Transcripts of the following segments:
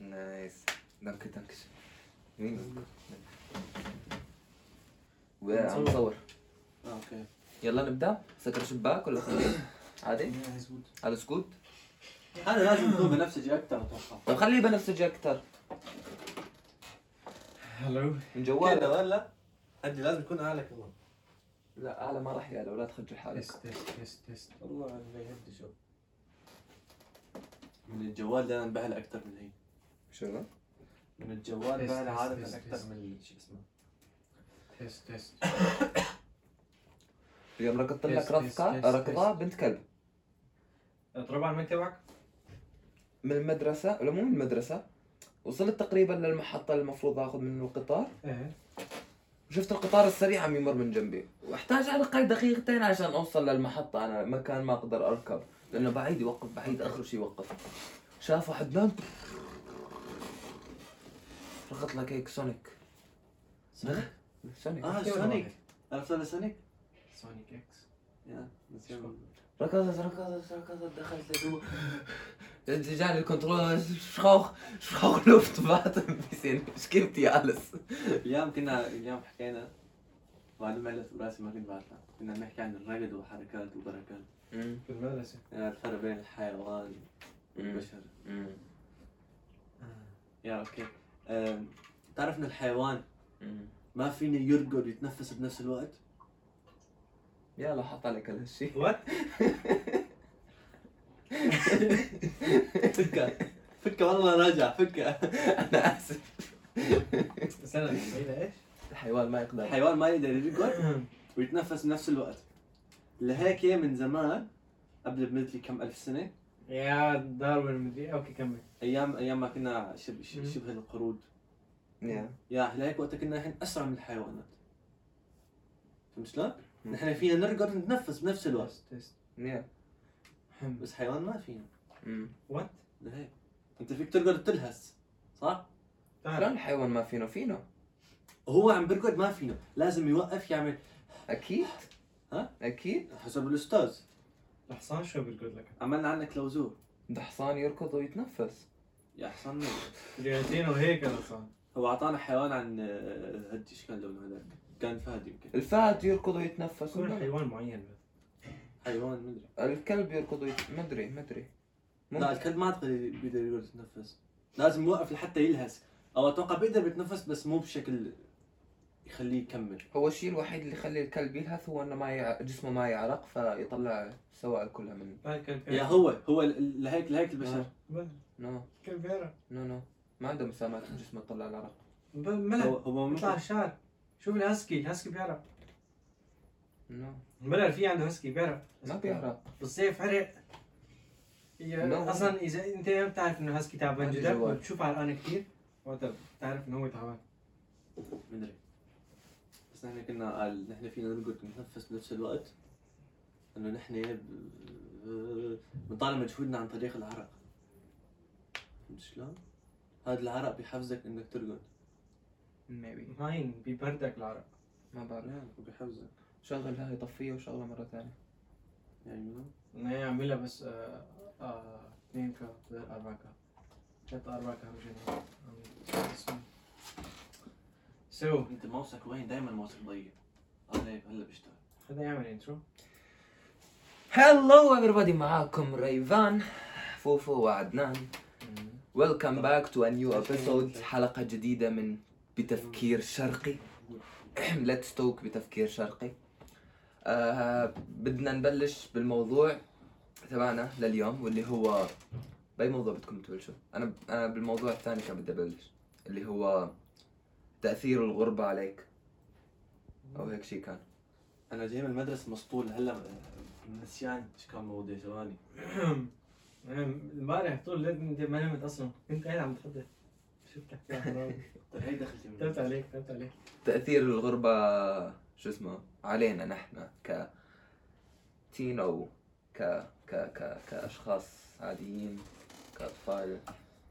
ナイスダンクダンクシュمين دول؟ وعم صور اه اوكي يلا نبدا سكر شباك ولا خليه عادي على سكوت هذا لازم يكون بنفسجي اكثر اتوقع طب خليه بنفسجي اكثر هلو من كذا جوالك ولا؟ أدري لازم يكون أعلى كمان لا اعلى ما راح يعلى ولا تخجل حالك تست تست تست تست والله ما يهدي شو من الجوال ده انا انبهل اكثر من هي شو من الجوال بس- انبهل بس- عادة بس- اكثر بس. من شو اسمه تست تست اليوم ركضت لك تست- ركضه تست- ركضه بنت كلب اضرب على المايك تبعك من المدرسه ولا مو من المدرسه وصلت تقريبا للمحطه اللي المفروض اخذ منه القطار ايه شفت القطار السريع عم يمر من جنبي واحتاج على الاقل دقيقتين عشان اوصل للمحطه انا مكان ما اقدر اركب لانه بعيد يوقف بعيد اخر شيء يوقف شافه حدلان رقت لك هيك سونيك سونيك؟ سونيك اه كيف سونيك واحد؟ عرفت ولا سونيك؟ سونيك اكس يا نسيت. شو؟ ركضت ركضت ركضت دخلت لجوا جاني الكنترول شخوخ شخوخ لفت فاتم بيسين شكيت يا الس اليوم كنا اليوم حكينا معلومة على راسي ما كنت بعرفها كنا بنحكي عن الرقد وحركات وبركات في المدرسة يعني الفرق بين الحيوان والبشر يا اوكي أم، تعرف ان الحيوان ما فيني يرقد ويتنفس بنفس الوقت يا لا حط عليك هالشيء وات فكه فكه والله راجع فكه انا اسف استنى بعيدة ايش؟ الحيوان ما يقدر الحيوان ما يقدر يرقد ويتنفس بنفس الوقت لهيك من زمان قبل بمدري كم الف سنه يا داروين مدري اوكي كمل ايام ايام ما كنا شب- مم. شب- شبه القرود يا يا لهيك وقتها كنا نحن اسرع من الحيوانات فهمت شلون؟ نحن فينا نرقد ونتنفس بنفس الوقت تست تست يا حمد. بس حيوان ما فينا مم. وات؟ لهيك انت فيك ترقد وتلهس صح؟ Ah, شلون الحيوان ما فينا فينا هو عم بيرقد ما فينا لازم يوقف يعمل اكيد ها؟ اكيد حسب الاستاذ الحصان شو بيقول لك؟ عملنا عنك كلوزور ده حصان يركض ويتنفس يا حصان مين؟ جايتين وهيك الحصان هو اعطانا حيوان عن آه، هدي ايش كان لونه هذاك؟ كان فهد يمكن الفهد يركض ويتنفس كل حيوان معين بس حيوان مدري الكلب يركض ويت... ما ادري ما ادري لا الكلب ما اعتقد بيقدر يقدر يتنفس لازم يوقف لحتى يلهس او اتوقع بيقدر يتنفس بس مو بشكل يخليه يكمل هو الشيء الوحيد اللي يخلي الكلب يلهث هو انه ما يع... جسمه ما يعرق فيطلع السوائل كلها منه هاي كان يا هو هو ال- لهيك لهيك البشر آه. نو كان فيرا نو نو ما عنده مسامات في جسمه تطلع العرق هو ملل هو اطلع ممكن الشارع شوف الهسكي الهسكي بيعرق نو ملل في عنده هسكي بيعرق ما بيعرق بالصيف عرق لا. يا اصلا اذا انت ما بتعرف انه هسكي تعبان عندي جدا جوال. وتشوف عرقان كثير وقتها بتعرف انه هو تعبان مدري بس نحن كنا قال نحن فينا نرقد ونتنفس بنفس الوقت انه نحن ب- بنطالع مجهودنا عن طريق العرق فهمت شلون؟ هذا العرق بيحفزك انك ترقد ميبي هاين ببردك العرق ما بعرف نعم وبيحفزك شغل هاي طفيه وشغله مره ثانيه يعني انا يعملها بس آه، آه، اثنين كا اربع كا ثلاث اربع كا مجنون. عم- سو انت موسك وين دائما موسك ضيق عليه هلا بيشتغل خلينا نعمل انترو هلو everybody معاكم ريفان فوفو وعدنان ويلكم باك تو ا نيو ابيسود حلقة جديدة من بتفكير شرقي ليتس توك بتفكير شرقي آه بدنا نبلش بالموضوع تبعنا لليوم واللي هو باي موضوع بدكم تبلشوا؟ انا انا بالموضوع الثاني كان بدي ابلش اللي هو تأثير الغربة عليك او هيك شيء كان انا جاي من المدرسه مسطول هلا نسيان ايش كان موضوع ثواني أنا امبارح طول الليل انت ما نمت اصلا كنت قاعد عم تحضر شفتك طيب هي دخلتي من تبت عليك تبت عليك تأثير الغربة شو اسمه علينا نحن ك تين أو ك ك ك كأشخاص عاديين كأطفال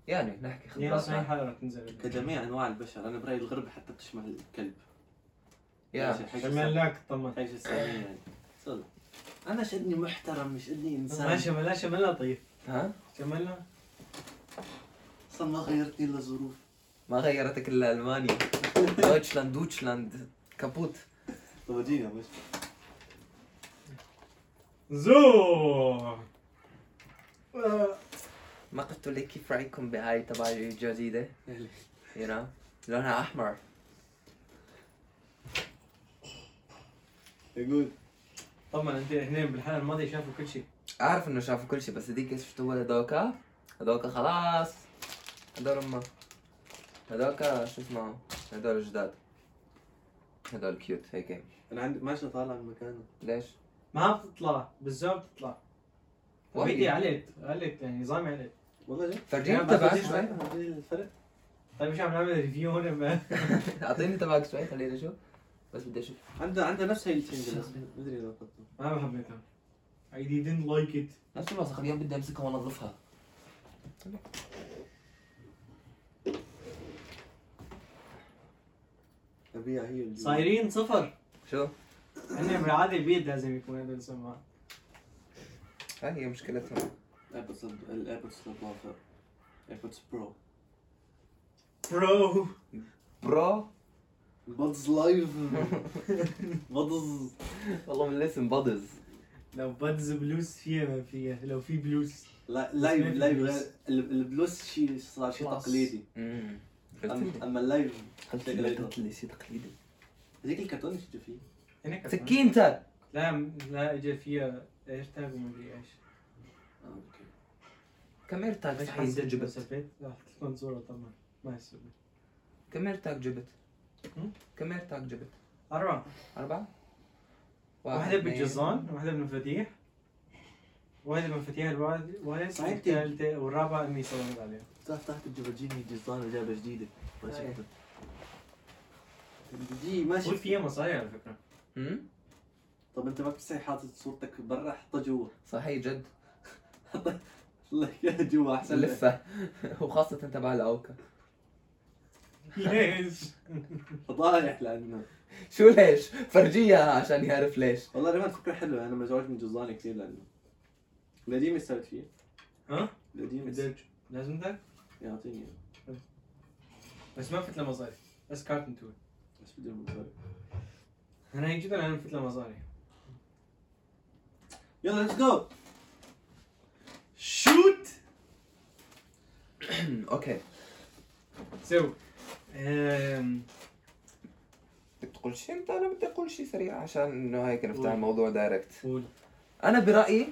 يعني نحكي يا صحيح خبراتنا حلقة تنزل كجميع انواع البشر انا برايي الغربه حتى بتشمل الكلب يا شملاك طمن حاجه سامية يعني صدق انا شدني محترم مش قدني ما انسان شملنا شملنا طيب ها شملنا اصلا ما غيرتني الا الظروف ما غيرتك الا المانيا دويتشلاند دويتشلاند كابوت طب اديني يا باشا زو ما قلت لك كيف رايكم بهاي تبع الجديده؟ You know لونها احمر يقول طبعا انت هنا بالحاله الماضيه شافوا كل شيء اعرف انه شافوا كل شيء بس هذيك شفتوا هذوك هذوك خلاص هذول امه هذوك شو اسمه هذول جداد هذول كيوت هيك انا عندي ماشي طالع من مكانه ليش؟ ما بتطلع بالزوم بتطلع بدي عليك عليك يعني نظامي عليك والله جد فرجيني يعني تبعك بعد شوي هذي الفرق طيب مش عم نعمل ريفيو هون ما- اعطيني تبعك شوي خليني اشوف بس بدي اشوف عندها عندها نفس هي التشنجة بس مدري اذا قلتها ما حبيتها I didn't like it نفس الوسخ اليوم بدي امسكها وانظفها ابيها هي الجديدة. صايرين صفر شو؟ هن بالعاده بيد لازم يكون هذا السماعه هاي هي مشكلتهم الايربودز الايربودز الضافة ايربودز برو برو برو بادز لايف بادز والله من الاسم بدز لو بدز بلوس فيها ما فيها لو في بلوس لا- لايف اسمه لايف البلوس. لا- ال- البلوس شيء صار شيء خلاص. تقليدي امم أما- اما اللايف قلت لي شيء تقليدي هذيك الكرتون اللي شفته فيه هناك سكينتك لا لا اجى فيها ايرتاج وما ادري ايش اه اوكي كم ايرتاج بس حين حسيت جبت؟ بسافيت رحت لكم صوره طبعا ما يسوي كم ايرتاج جبت؟ هم؟ كم ايرتاج جبت؟ أربعة أربعة؟ واحدة اثنين. بالجزان واحدة بالمفاتيح واحدة بالمفاتيح الواحدة واحدة صحيح. الثالثة والرابعة إني سويت عليها تحت تحت الجبرجيني جزان وجابه جديده ما أيه. شفته جي ما قول شفته فيها مصاري على فكرة هم؟ طب انت ما بتستحي حاطط صورتك برا حطها جوا صحيح جد الله يا جوا احسن لك. لفة وخاصة تبع الأوكا ليش؟ فضايح لانه شو ليش؟ فرجيها عشان يعرف ليش والله ريمان فكره حلوه انا مزعوج من جزاني كثير لانه القديم ايش سويت فيه؟ ها؟ القديم إيش- بدك لازم بدك يعطيني إياه. بس ما فت لها مصاري بس كارتون تول بس بدي المنظر. أنا هيك جدا أنا فت لها مصاري يلا ليتس جو شوت أوكي سو أم، بدك تقول شيء أنت أنا بدي أقول شيء سريع عشان إنه هيك نفتح قول. الموضوع دايركت قول أنا برأيي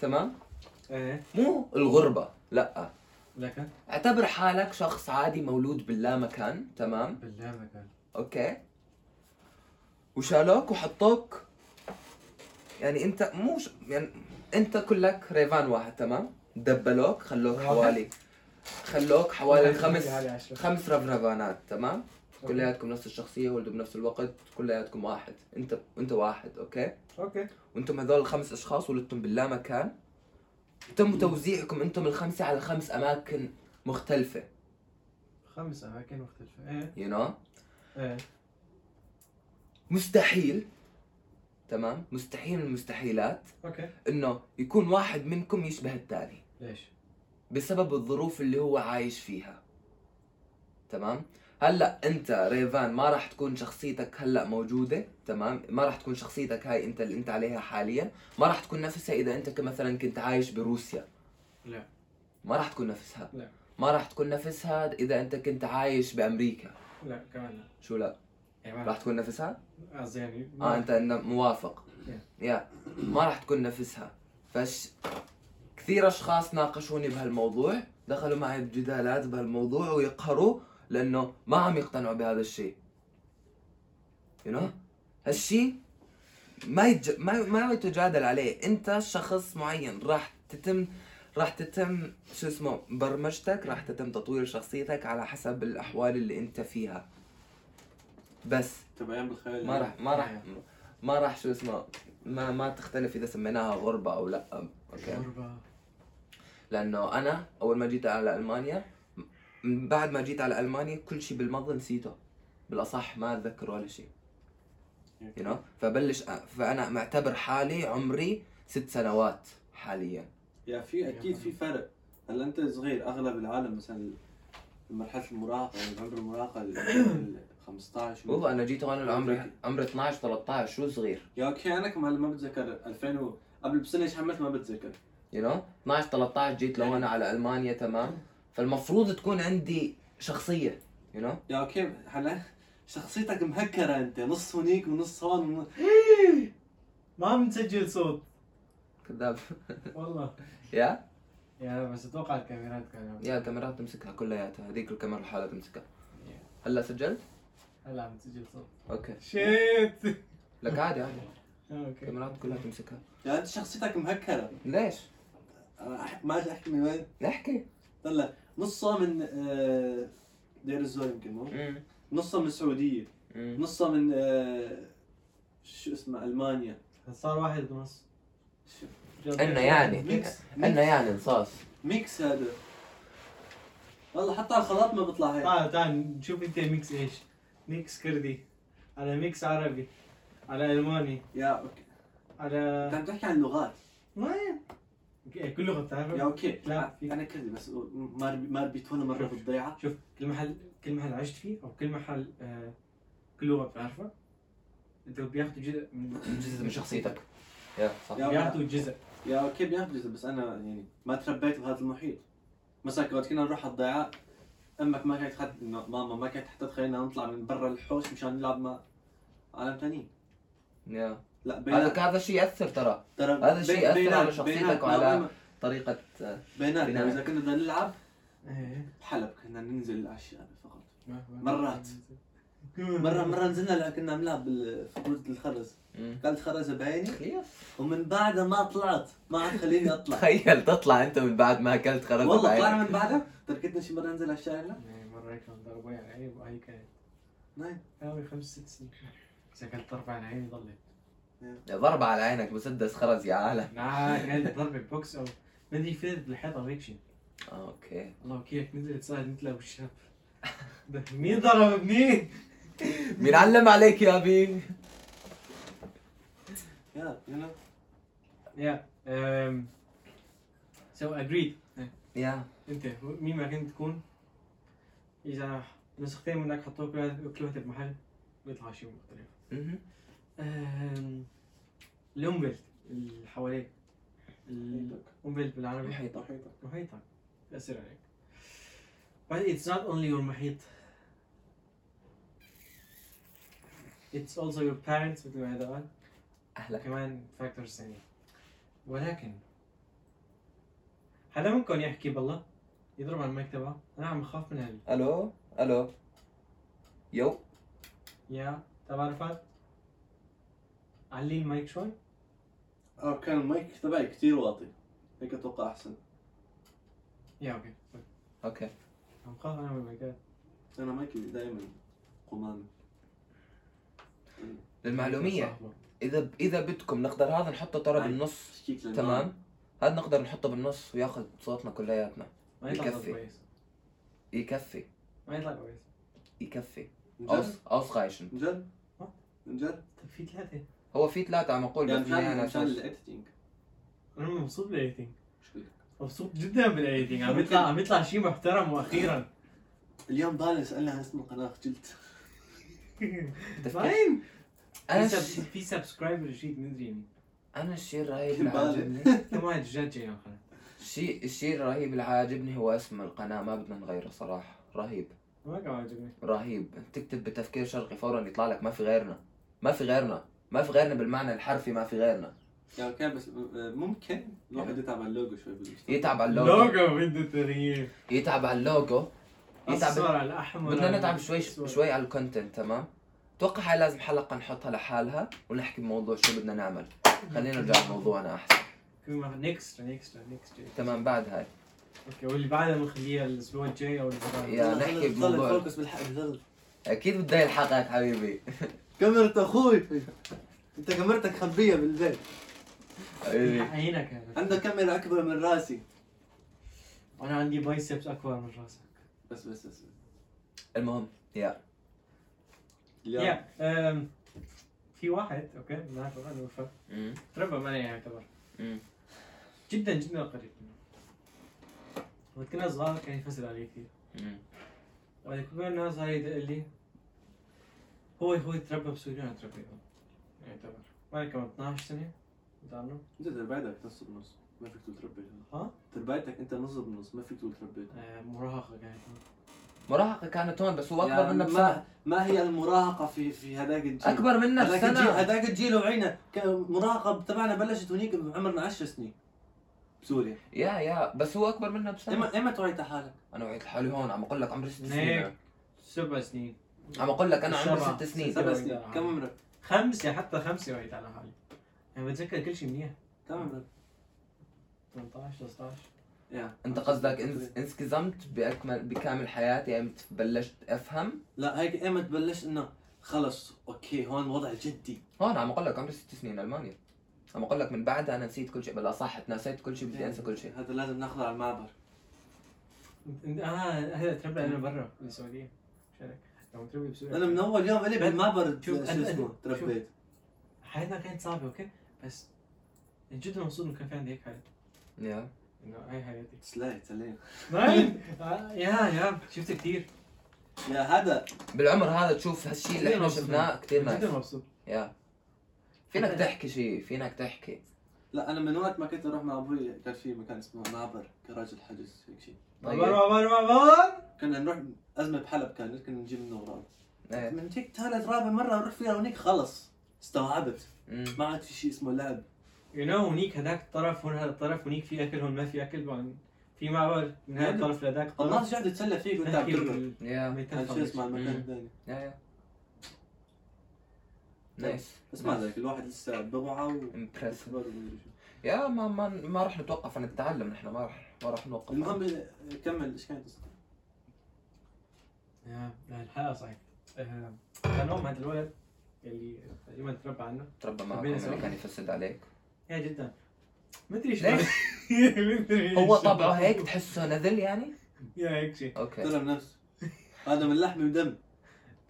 تمام ايه مو الغربة لأ لك اعتبر حالك شخص عادي مولود باللا مكان تمام بالله ما كان اوكي وشالوك وحطوك يعني انت مو ش... يعني انت كلك ريفان واحد تمام دبلوك خلوك واحد. حوالي خلوك حوالي خمس علي عشرة. خمس رفرفانات تمام كلياتكم نفس الشخصيه ولدوا بنفس الوقت كلياتكم واحد انت انت واحد اوكي اوكي وانتم هذول الخمس اشخاص ولدتم باللا مكان تم توزيعكم انتم الخمسه على خمس اماكن مختلفه خمس أماكن مختلفة ايه يو you know? ايه مستحيل تمام مستحيل من المستحيلات اوكي انه يكون واحد منكم يشبه الثاني ليش؟ بسبب الظروف اللي هو عايش فيها تمام هلا انت ريفان ما راح تكون شخصيتك هلا موجوده تمام ما راح تكون شخصيتك هاي انت اللي انت عليها حاليا ما راح تكون نفسها اذا انت ك- مثلا كنت عايش بروسيا لا. ما راح تكون نفسها لا. ما راح تكون نفسها اذا انت كنت عايش بامريكا لا كمان لا شو لا يعني ما راح تكون نفسها قصدي يعني اه انت انت موافق يا ما راح تكون نفسها فش كثير اشخاص ناقشوني بهالموضوع دخلوا معي بجدالات بهالموضوع ويقهروا لانه ما عم يقتنعوا بهذا الشيء يو نو هالشيء ما يتج... ما ما يتجادل عليه انت شخص معين راح تتم راح تتم شو اسمه برمجتك راح تتم تطوير شخصيتك على حسب الاحوال اللي انت فيها بس طب ايام بالخيال ما راح ما راح ما راح شو اسمه ما ما تختلف اذا سميناها غربه او لا اوكي غربة لانه انا اول ما جيت على المانيا من بعد ما جيت على المانيا كل شيء بالماضي نسيته بالاصح ما اتذكر ولا شيء يو نو فبلش أ- فانا معتبر حالي عمري ست سنوات حاليا يا في اكيد في فرق هلا انت صغير اغلب العالم مثلا مرحله المراهقه يعني عمر المراهقه ال- ال 15 بابا انا جيت وانا عمري عمري 12 13 شو صغير يا اوكي انا كمان ما بتذكر 2000 و... قبل بسنه ايش عملت ما بتذكر يو نو 12 13 جيت لهون على المانيا تمام فالمفروض تكون عندي شخصيه يو نو يا اوكي هلا شخصيتك مهكره انت نص هونيك ونص هون ون- ما عم نسجل صوت كذاب والله يا يا بس اتوقع الكاميرات كان عم- يا الكاميرات تمسكها كلياتها هذيك الكاميرا لحالها تمسكها هلا سجلت هلا عم تسجل صوت اوكي شيت لك عادي عادي اوكي الكاميرات كلها تمسكها يا انت يعني شخصيتك مهكره ليش انا أح- ما أدري احكي من وين احكي طلع نصها من آه، دير الزور يمكن مو مم. نصها من السعوديه مم. نصها من آه، شو اسمه المانيا صار واحد بنص شو- عنا إيه، يعني ميكس عنا ميكس, يعني نصاص ميكس هذا والله حتى على الخلاط ما بيطلع هيك تعال تعال نشوف انت ميكس ايش ميكس كردي على ميكس عربي على الماني يا اوكي انت على عم تحكي عن لغات ما هي. اوكي، كل لغه يا بتعرفها اوكي لا، في- انا كذا بس ما ربي- ما ربيت ولا مره شوف. بالضيعه شوف كل محل كل محل عشت فيه او كل محل آه كل لغه بتعرفها انت بياخذوا جزء من جزء من شخصيتك يا صح يا- بياخذوا جزء يا اوكي بياخذ بس انا يعني ما تربيت بهذا المحيط مثلا وقت كنا نروح على الضيعه امك ما كانت خد... ماما ما كانت حتى تخلينا نطلع من برا الحوش مشان نلعب مع عالم ثانيين يا لا بين هذا هذا الشيء ياثر ترى ترى هذا الشيء بين- يأثر على بينات- شخصيتك بيناتنا وعلى- وبين- طريقه آه، بيناتنا بيناتنا. اذا كنا بدنا نلعب إيه. ايه بحلب كنا ننزل العشاء فقط مرات. مره مرة مره نزلنا لع- كنا نلعب بال- في كرة الخرز مم. كانت خرزه بعيني خليف ومن بعدها ما طلعت ما عاد خليني اطلع تخيل تطلع انت من بعد ما اكلت خلاص والله طلعنا من بعدها تركتنا شي مره انزل على الشارع لا إيه، مرة هيك عم ضربة على عيني وهي كانت نايم حوالي خمس ست سنين اذا كانت ضربة على عيني ضلت ضربة على عينك مسدس خرز يا عالم لا كانت ضربة بوكس او ما ادري فلت بالحيطة وهيك شيء اوكي الله كيف نزلت صار مثلها بالشاب ده مين ضرب ابني؟ مين علم عليك يا بي يا يلا يا أم، سو اجريد يا انت مين ما كنت تكون اذا نسختين منك حطوك كل واحد- كل واحد بمحل بيطلع شيء مختلف مهم. أم، الأمبلت اللي حواليك الأمبلت بالعربي محيطك. محيطك بأثر عليك but it's not only your محيط it's also your parents مثل ما هذا قال اهلك كمان فاكتورز ثانية ولكن حدا منكم يحكي بالله يضرب على المايك تبعه انا عم بخاف من هال الو الو يو يا تبع رفعت علي المايك شوي اه كان المايك تبعي كثير واطي هيك اتوقع احسن يا اوكي اوكي عم بخاف انا من المايكات انا مايكي دائما قمامي للمعلومية اذا اذا بدكم نقدر هذا نحطه ترى عادي. بالنص اشتكيك للنوم. تمام هذا نقدر نحطه بالنص وياخذ صوتنا كلياتنا ما يطلع صوت بكفي. كويس يكفي ما يطلع كويس يكفي نجرب اوس اوس خايشن نجرب ها؟ نجرب طيب في ثلاثة هو في ثلاثة عم اقول يعني بس ما مشان أنا مشان أساس. الايديتنج انا مبسوط بالايتنج مشكلة مبسوط جدا بالايتنج عم يطلع عم يطلع شيء محترم واخيرا اليوم ضالي سالنا عن اسم القناه خجلت فاين انا في الش- سب- في سبسكرايبر جديد مدري مين انا الشيء الرهيب اللي بالك. عاجبني كم واحد جد جاي على القناة الشيء الشيء الرهيب اللي عاجبني هو اسم القناة ما بدنا نغيره صراحة رهيب ما كان عاجبني رهيب تكتب بتفكير شرقي فورا يطلع لك ما في غيرنا ما في غيرنا ما في غيرنا بالمعنى الحرفي ما في غيرنا يعني كان بس ممكن الواحد يتعب على اللوجو شوي بالمستقبل يتعب على اللوجو لوجو بده تغيير يتعب على اللوجو يتعب الصورة الاحمر إيه، بدنا نتعب شوي شوي على الكونتنت تمام اتوقع هاي لازم حلقة نحطها لحالها ونحكي بموضوع شو بدنا نعمل خلينا نرجع لموضوعنا احسن نكست نكست نكست تمام بعد هاي اوكي واللي بعدها بنخليها الاسبوع الجاي او الاسبوع يا نحكي بضل بموضوع الفوكس بالحق بضل اكيد بدي الحقك حبيبي كاميرا اخوي انت كاميرتك خبيه بالبيت حبيبي عينك هذا. عندك كاميرا اكبر من راسي وانا عندي بايسبس اكبر من راسك بس بس بس المهم يا اليوم يا أم، um, في واحد اوكي ما اعرف انا وفاء أمم، يعني تربى معنا يعتبر أمم. جدا جدا قريب لما كنا صغار كان يفسر علي كثير مم. وبعد كبرنا صار يدق لي هو هو يتربى بسوريا وانا اتربى هون يعتبر وانا كمان 12 سنه كنت عنه انت تربيتك نص بنص ما فيك تقول تربيت ها؟ تربيتك انت نص بنص ما فيك تقول تربيت آه، مراهقه كانت مراهقه كانت هون بس هو اكبر يعني منا بسنه ما, ما هي المراهقه في في هذاك الجيل اكبر منا هذاك الجيل بسنه هذاك الجيل وعينا كان المراهقه تبعنا بلشت هنيك عمرنا 10 سنين بسوريا يا يا بس هو اكبر منا بسنه اما اما توعيت حالك انا وعيت حالي هون عم اقول لك عمري ست هيك سنين سبع سنين عم اقول لك انا عمري سبعة. ست سنين سبع سبعة. سنين كم عمرك؟ خمسه حتى خمسه وعيت على حالي يعني بتذكر كل شيء منيح كم عمرك؟ 18 19 يا. انت قصدك انس- انسكزمت باكمل بكامل حياتي امتى بلشت افهم لا هيك ايمت بلشت انه خلص اوكي هون وضع جدي هون عم اقول آه، نعم، لك عمري ست سنين المانيا عم اقول لك من بعدها انا نسيت كل شيء بالاصح تناسيت كل شيء بدي نعم. انسى كل شيء هذا لازم ناخذه على المعبر اه هذا تربى انا برا من السعوديه مش هيك لما تربي بسوريا انا من اول يوم الي بالمعبر شو شوف، أنا- اسمه أنا- تربيت حياتنا كانت صعبه اوكي بس جدا مبسوط انه كان في عندي هيك حياه يا انه هاي حياتي سلاي سلام نعم آه، يا يا شفت كثير يا هذا بالعمر هذا تشوف هالشيء اللي كثير احنا مبسوط. شفناه كثير جدا نايس مبسوط يا فينك تحكي شيء فينك تحكي لا انا من وقت ما كنت اروح مع ابوي كان في مكان اسمه معبر كراجل حجز هيك شيء مبر طيب مبر مبر كنا نروح ازمه بحلب كانت كنا نجيب منه اوراق إيه. من هيك ثالث رابع مره اروح فيها هونيك خلص استوعبت أمم. ما عاد في شيء اسمه لعب يو نو هنيك هذاك الطرف هون هذا الطرف هنيك في اكل هون ما في اكل بعدين في معبر من هذا الطرف لهذاك الطرف الناس قاعده تتسلى فيك وانت عم نحكي تركض بال- يا بالميتين هذا شو خمسة. اسمه المكان مم. الثاني يا يا نايس بس ما عليك الواحد لسه بوعى و امبرسيف كبر وما أدري شو. يا ما ما ما راح نتوقف عن التعلم نحن ما راح ما راح نوقف المهم كمل ايش كانت قصتك؟ يا، لا، الحلقه صحيح آه، كان ام هذا الولد اللي تقريبا تربى عنه تربى ربنا معكم اللي يسامحك. كان يفسد عليك يا جدا مدري شو ليش؟ مدري هو شو. طبعه هيك تحسه نذل يعني؟ يا هيك شيء اوكي ظلم نفسه هذا من لحمي ودم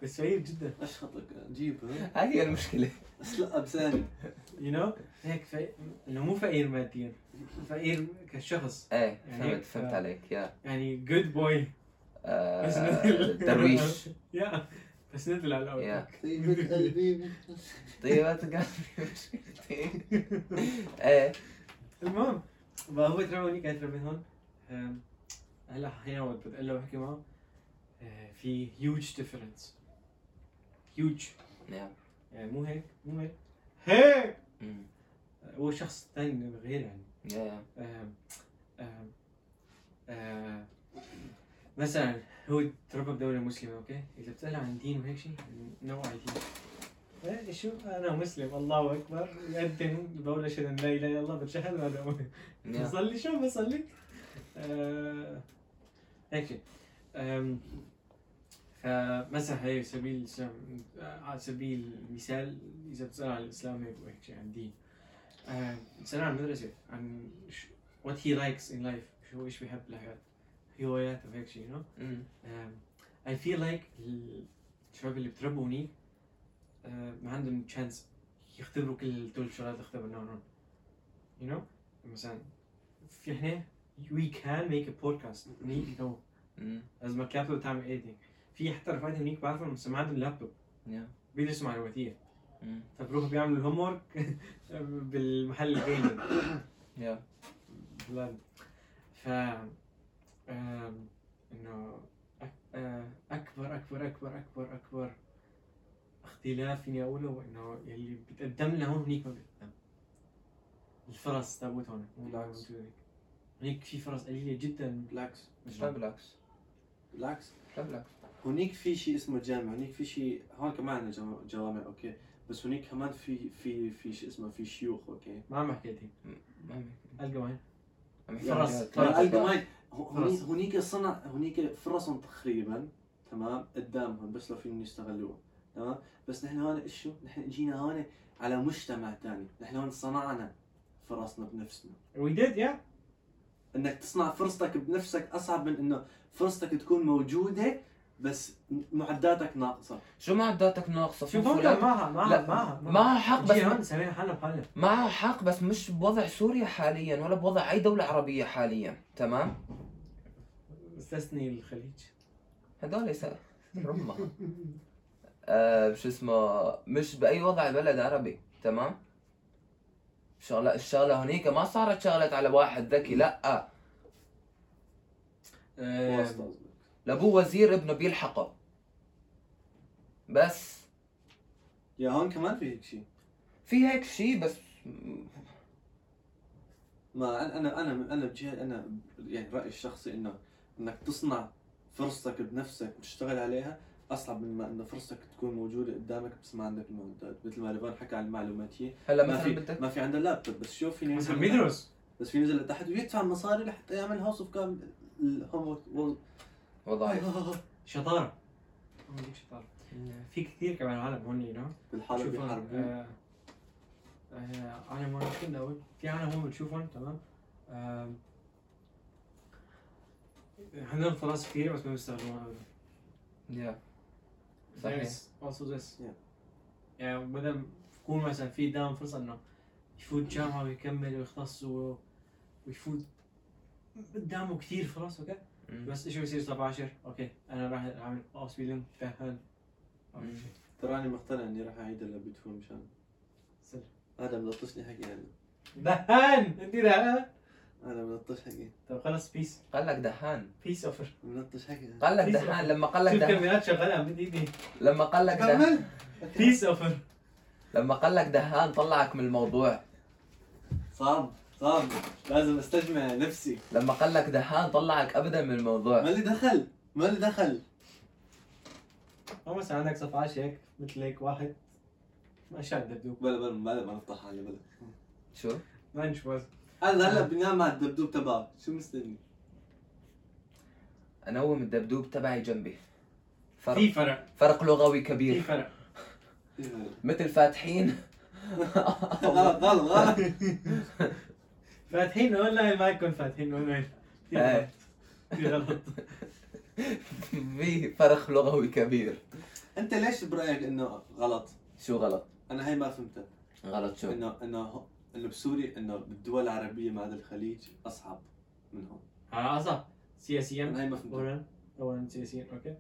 بس سعيد جدا اشخطك جيب ها؟ هذه هي المشكله اسلقها بساني يو نو هيك في... انه مو فقير ماديا فقير كشخص ايه يعني فهمت هيك، فهمت آه. عليك يا يعني جود بوي آه، بس نذل. درويش يا بس نزل على الاول يا. طيبة قلبي طيبة قلبي مشكلتي ايه المهم فهو ترى هنيك قاعد تربي هون أم، هلا احيانا وقت بتقلى بحكي معه أه، في هيوج ديفرنس هيوج يا يعني مو هيك مو هيك هيك أمم. هو شخص ثاني غير يعني يا يا أم، أم، أم، مثلا آه، هو تربى بدولة مسلمة اوكي؟ إذا بتسأله عن دين وهيك شيء نوع دين إيه، شو انا مسلم الله اكبر يأذن بقول اشهد ان لا اله الا الله بتشهد وهذا هو. يا. بصلي شو بصلي؟ آه، هيك شيء أم، فمثلا هي سبيل الاسلام آه، على سبيل المثال اذا بتسال عن الاسلام هيك وهيك شيء عن الدين آه، بتسال عن المدرسه عن وات هي لايكس ان لايف شو ايش بيحب بالحياه هواياته وهيك شيء نو أمم. Um, اي فيل لايك الشباب اللي بتربوا هنيك آه، ما عندهم تشانس يختبروا كل دول الشغلات اللي اختبرناهم هون يو نو مثلا في احنا وي كان ميك ا بودكاست هنيك نو أمم. لازمك لابتوب تعمل ايديتنج في حتى رفقاتي هنيك بعرفهم بس ما عندهم لابتوب يا بيدرسوا معلوماتيه أمم. فبروحوا بيعملوا الهوم ورك بالمحل الجيمنج يا بلان ف آم، انه أك- آه، اكبر اكبر اكبر اكبر اكبر اختلاف فيني اقوله هو انه يلي بتقدم لنا هون هنيك ما بتقدم الفرص تابوت هون مو بالعكس. موجودة هنيك. هنيك في فرص قليله جدا بالعكس لا بالعكس بالعكس لا بالعكس هنيك في شيء اسمه جامع هنيك في شيء هون كمان عندنا جوا- جوامع اوكي بس هنيك كمان في في في شيء اسمه في شيوخ اوكي ما عم حكيت هيك ما عم يحكي. القوا هين عم يحكي فرص. عن يعني الجهاد. الجماعي هنيك فرص. هنيك صنع هنيك فرص تقريبا تمام قدامهم بس لو فيهم يستغلوها تمام بس نحن هون إيش شو نحن جينا هون على مجتمع ثاني نحن هون صنعنا فرصنا بنفسنا وي ديد يا انك تصنع فرصتك بنفسك اصعب من انه فرصتك تكون موجوده بس معداتك ناقصه شو معداتك ناقصه شوف فوفو هون لا. معها لا، معها معها معها حق بس جي هون سوينا حالنا بحالنا معها حق بس مش بوضع سوريا حاليا ولا بوضع اي دولة عربية حاليا تمام استثني الخليج هدول يس- رمها آه شو اسمه مش باي وضع بلد عربي تمام شغله الشغله هنيك ما صارت شغلت على واحد ذكي لا آه، واسطة قصدك. لابوه وزير ابنه بيلحقه بس يا هون كمان في هيك شيء في هيك شيء بس ما انا انا انا انا بجهه انا يعني رايي الشخصي انه انك تصنع فرصتك بنفسك وتشتغل عليها اصعب من ما انه فرصتك تكون موجوده قدامك بس ما عندك المعدات مثل ما ليفان حكى عن المعلوماتيه هلا ما مثلا في بدك ما في عنده لابتوب بس شوف فيني بس نزل- عم يدرس بس في نزل تحت ويدفع مصاري لحتى يعمل هاوس اوف كام الهوم وظائف شطاره عم يديك شطاره آه، في كثير كمان عالم هون يو نو بالحاله بيحاربوه آه، آه، عالم هون كنا أول- في عالم هون بتشوفهم تمام آه، عندهم فرص كثير بس ما بيستخدموها أبداً. يا There صحيح. is also this. Yeah. يعني بدل يكون مثلا في دائما فرصة انه يفوت جامعة ويكمل ويختص و- ويفوت قدامه كثير فرص اوكي مم. بس شو بيصير 17 اوكي انا راح اعمل اوف سبيلين تأهل أو مم. شيء. تراني مقتنع اني راح اعيد اللي بدفون مشان سل. هذا ملطشني حكي هلا دهان انت دهان هذا ملطش حكي طب طيب خلص بيس قال لك دهان بيس اوفر ملطش حكي قال لك في دهان لما قال لك شوف دهان كاميرات شغالة عم بدي لما قال لك دهان كمل بيس اوفر لما قال لك دهان طلعك من الموضوع صعب صعب لازم استجمع نفسي لما قال لك دهان طلعك ابدا من ما الموضوع لي دخل ما لي دخل او مثلا عندك 17 هيك مثل هيك واحد ما شاد دبدوب بلا بلا بلا ما نفتح حالي بلا شو ما نشوف هلا آه. هلا بنام مع الدبدوب تبعه شو مستني؟ انوم الدبدوب تبعي جنبي في فرق فرق فرق لغوي في كبير فرق مثل فاتحين غلط غلط غلط فاتحين اونلاين معكم فاتحين اونلاين في إيه. غلط في غلط في فرق لغوي كبير انت ليش برايك انه غلط؟ شو غلط انا هي ما فهمتها غلط شو انه انه انه بسوريا انه بالدول العربيه ما عدا الخليج اصعب من هون على اصح سياسيا انا هي ما فهمتها اولا اولا سياسيا اوكي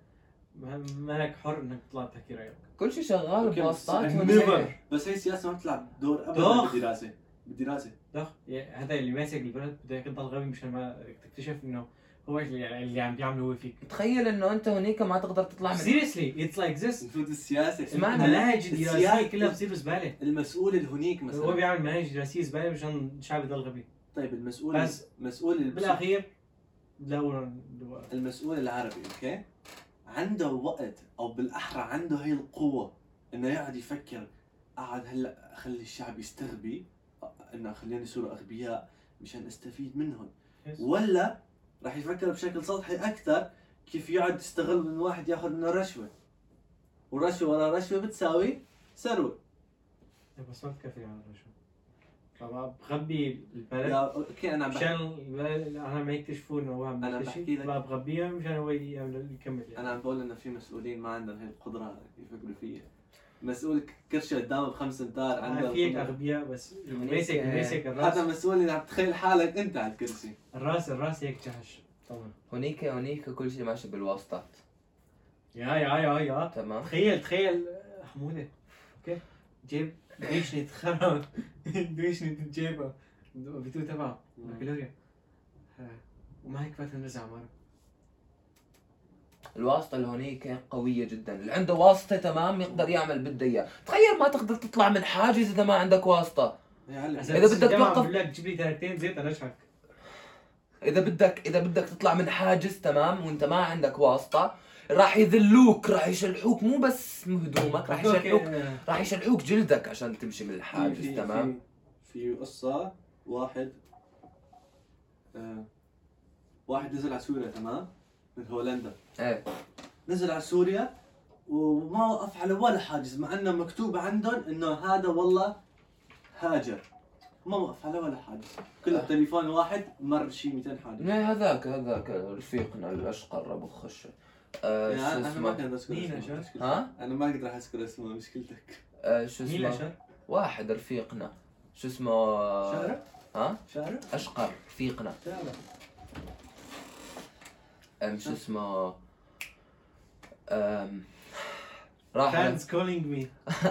ما- مالك حر انك تطلع تحكي رايك كل شيء شغال أوكي، بس بواسطات إحنا ونسير. بس هي السياسه ما بتلعب دور ابدا ضخ. بالدراسه بالدراسه ضخ يا- هذا اللي ماسك البلد بده يضل غبي مشان ما تكتشف انه هو اللي, اللي عم بيعمله هو فيك تخيل انه انت هنيك ما تقدر تطلع من سيريسلي اتس لايك ذس المفروض السياسه اسمعني. المناهج الدراسيه السياسة- كلها بتصير زباله المسؤول اللي هنيك مثلا هو بيعمل مناهج دراسيه زباله مشان الشعب يضل غبي طيب المسؤول بس- المسؤول اللي بس- بالاخير لا اولا المسؤول العربي اوكي عنده وقت او بالاحرى عنده هي القوه انه يقعد يفكر قعد هلا اخلي الشعب يستغبي أ- انه خلينا يصيروا اغبياء مشان استفيد منهم ولا راح يفكر بشكل سطحي اكثر كيف يقعد يستغل من واحد ياخذ منه رشوه ورشوه ورا رشوه بتساوي ثروه بس ما بتكفي عن الرجل طبعا بغبي البلد يا- اوكي انا عم بحكي مشان ال- انا ما يكتشفوا انه هو عم أنا يكتشف، بحكي لك- ما بغبيها مشان هو يعمل- يكمل يعني انا عم بقول انه في مسؤولين ما عندهم هي القدره يفكروا فيها مسؤول كرشي قدامه بخمس امتار عنده انا فيك القدرة. اغبياء بس هنيك- ماسك ماسك يعني هذا الراس مسؤول اللي عم تخيل حالك انت على الكرسي الراس الراس هيك جحش طبعا هنيك هنيك كل شيء ماشي بالواسطات يا يا يا يا تمام تخيل تخيل آه، حموده اوكي جيب دويشني تخرب دويشني جيبه بتو تبعه بكالوريا آه، وما هيك فات هندسه عماره الواسطه اللي هنيك قويه جدا اللي عنده واسطه تمام يقدر يعمل بده اياه تخيل ما تقدر تطلع من حاجز اذا ما عندك واسطه يا علم إذا بدك توقف- بقول لك جيب لي درجتين زيت انا اشحك اذا بدك اذا بدك تطلع من حاجز تمام وانت ما عندك واسطه راح يذلوك راح يشلحوك مو بس هدومك راح يشلحوك eh, راح يشلحوك جلدك عشان تمشي من الحاجز تمام في قصه واحد آه واحد نزل على سوريا تمام من هولندا ايه نزل على سوريا وما وقف على ولا حاجز مع انه مكتوب عندهم انه هذا والله هاجر ما وقف على ولا حاجز آه. كله تليفون واحد مر شي 200 حاجز لا إيه، هذاك هذاك رفيقنا الاشقر ابو خشه آه يعني شو انا أنا ما اسمه كنت اذكر مين اسمه، أشهر؟ مشكلتك. ها انا ما اقدر اذكر اسمه مشكلتك آه شو مين اسمه الاشهر؟ واحد رفيقنا شو اسمه آه. شعره ها شعره اشقر رفيقنا شعره أم شو اسمه أم راح على- فانز كولينج مي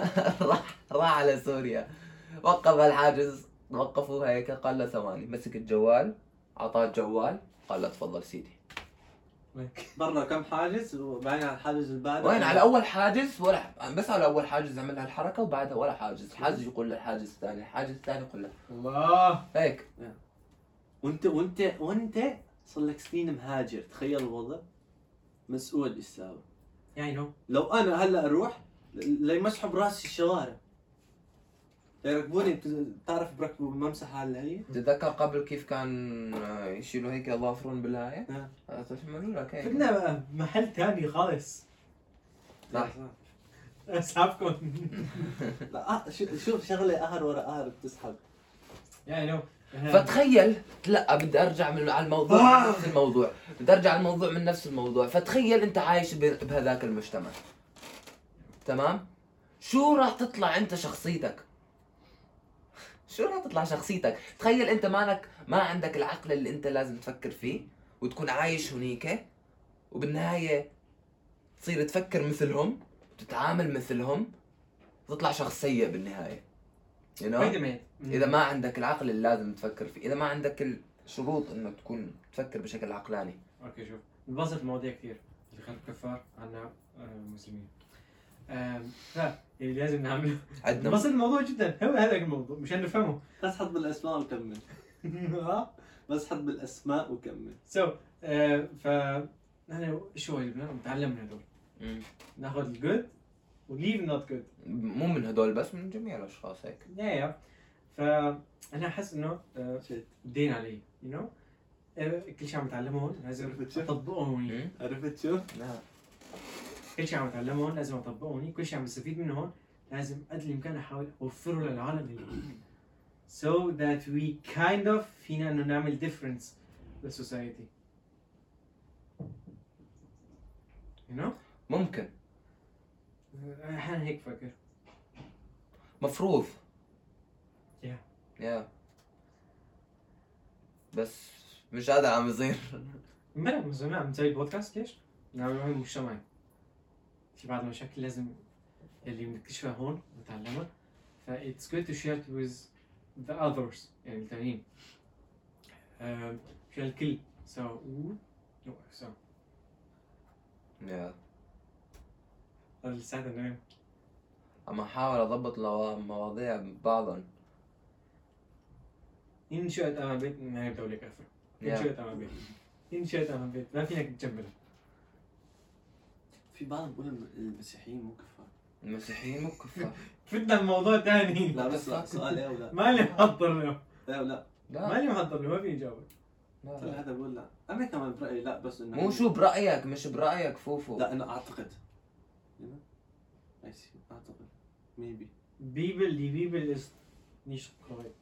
راح راح على سوريا وقف الحاجز وقفوه هيك قال له ثواني مسك الجوال اعطاه الجوال قال له تفضل سيدي برا كم حاجز وبعدين على الحاجز اللي بعده وين على اول حاجز ولا بس على اول حاجز عمل هالحركه وبعدها ولا حاجز الحاجز يقول للحاجز الثاني الحاجز الثاني يقول له الله هيك وانت وانت وانت صار لك سنين مهاجر تخيل الوضع مسؤول يساوي يعني نو لو انا هلا اروح ليمسحوا براسي الشوارع يركبوني بت- بتعرف بركبوا بممسحة هلا هي تتذكر قبل كيف كان آه، يشيلوا هيك يضافرون بالهاي؟ نعم. آه، تشملوا لك هيك بدنا بقى محل تاني خالص صح. اسحبكم لا آه، شو- شوف شغله قهر ورا قهر بتسحب يعني نو فتخيل لا بدي ارجع من على الموضوع من نفس الموضوع بدي ارجع على الموضوع من نفس الموضوع فتخيل انت عايش ب- بهذاك المجتمع تمام شو راح تطلع انت شخصيتك شو راح تطلع شخصيتك تخيل انت مالك ما عندك العقل اللي انت لازم تفكر فيه وتكون عايش هنيك وبالنهايه تصير تفكر مثلهم تتعامل مثلهم تطلع شخص سيء بالنهايه you Eh, know؟ اذا ما عندك العقل اللي لازم تفكر فيه اذا ما عندك الشروط انك تكون تفكر بشكل عقلاني اوكي شوف انبسط مواضيع كثير اللي خلف كفار عنا آه، مسلمين آم، ف اللي لازم نعمله عندنا انبسط الموضوع جدا هو هذا الموضوع مشان نفهمه بس حط بالاسماء وكمل بس حط بالاسماء وكمل سو آه، ف نحن شو جبنا تعلمنا دول مم. ناخذ الجود وليف نوت جود مو من هدول بس من جميع الاشخاص هيك يا يا فانا احس انه آه، شيت دين علي يو نو كل شيء عم بتعلمه هون لازم اطبقه هون مم. عرفت شو؟ نعم. كل شيء عم اتعلمه هون لازم اطبقه هون كل شيء عم بستفيد منه هون لازم قد الامكان احاول اوفره للعالم اللي هون. so that we kind of فينا انه نعمل difference للسوسايتي you know ممكن احيانا هيك بفكر مفروض Yeah. يا بس مش هذا عم يصير امبارح مثلا عم نسوي بودكاست ليش؟ نعمل واحد مجتمعي في بعض المشاكل لازم اللي بنكتشفها هون نتعلمها ف it's good to share it with the others يعني التانيين أم، مشان الكل so no so يا هذا لساتنا نايم عم احاول اضبط لو- مواضيع ببعضهم انشأت أمام بيت نهاية دولة كافرة يا. انشأت أمام بيت انشأت أمام بيت ما فينك تجملها في بعض بقول الم- المسيحيين مو كفار المسيحيين مو كفار فتنا بموضوع تاني لا بس لا سؤال ايه ولا مالي محضر له لا ولا لا مالي محضر له ما في إجابة لا، طلع لا. هذا بقول لا انا كمان برايي لا بس انه مو شو برايك مش برايك فوفو لا انا اعتقد اي سي اعتقد ميبي بيبل دي بيبل is مش correct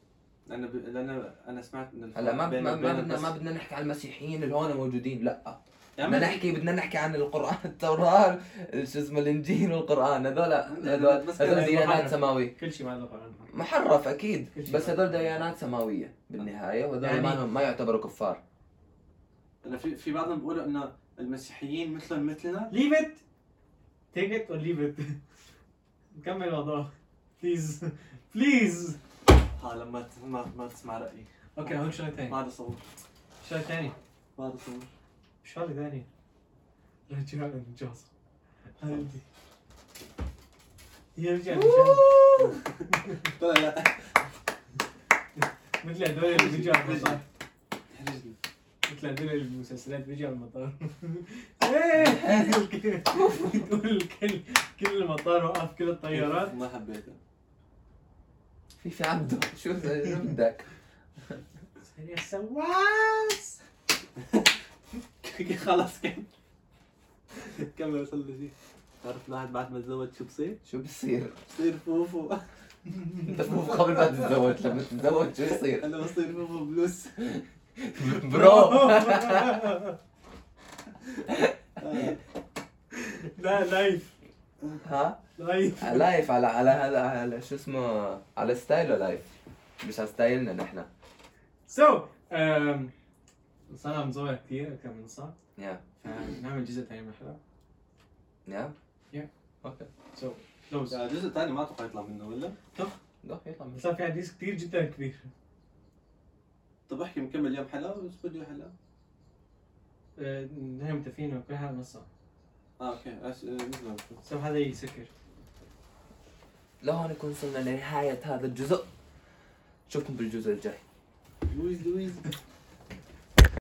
لان ب... لان انا سمعت ان الفرق هلا ما بين- ما ما بدنا بين ما البس- يعني بدنا نحكي عن المسيحيين اللي هون موجودين لا يا عمي، بدنا نحكي بدنا نحكي عن القران التوراه شو اسمه الانجيل والقران هذول هذول بس هذول كده ديانات محرف. سماويه كل شيء ما له قرآن محرف اكيد كل شيء بس محرف. هذول ديانات سماويه بالنهايه وهذول يعني- ما ما يعتبروا كفار انا في في بعضهم بيقولوا انه المسيحيين مثلهم مثلنا leave it take it or leave it نكمل الموضوع بليز بليز ها لما ت- ما ما تسمع رايي اوكي هون شغله ما ثانيه عاد اصور شغله ثانيه ما عاد اصور شغله ثانيه رجال النجاصة قلبي يا رجال النجاصة لا لا إيه، مثل هدول اللي بيجوا على المطار تحرجني مثل هدول المسلسلات بيجوا على المطار إيه، الكل- تقول الكل كل المطار وقف كل الطيارات إيه، ما حبيته في في عبده شو شو بدك يا سواس خلاص كمل كمل وصل لي شيء تعرف الواحد بعد ما تزوج شو بصير؟ شو بصير بصير فوفو انت فوفو قبل ما تتزوج لما تتزوج شو يصير انا بصير فوفو بلوس برو آه. لا لايف ها لايف لايف على على هذا على شو اسمه على ستايله لايف مش على ستايلنا نحن um, سو صار عم زوي كثير اكثر من صار Yeah. فنعمل جزء ثاني من الحلقه نعم سو لوز الجزء الثاني آه، ما اتوقع يطلع منه ولا؟ لا يطلع من صار في عندي كثير جدا كبير طب احكي مكمل اليوم حلقه والاسبوع الجاي حلقه؟ آه، نحن متفقين إنه كل هذا نص ساعة. اه اوكي أس... آه، مثل ما قلت. سو هذا يسكر لهون نكون وصلنا لنهاية هذا الجزء نشوفكم بالجزء الجاي لويز لويز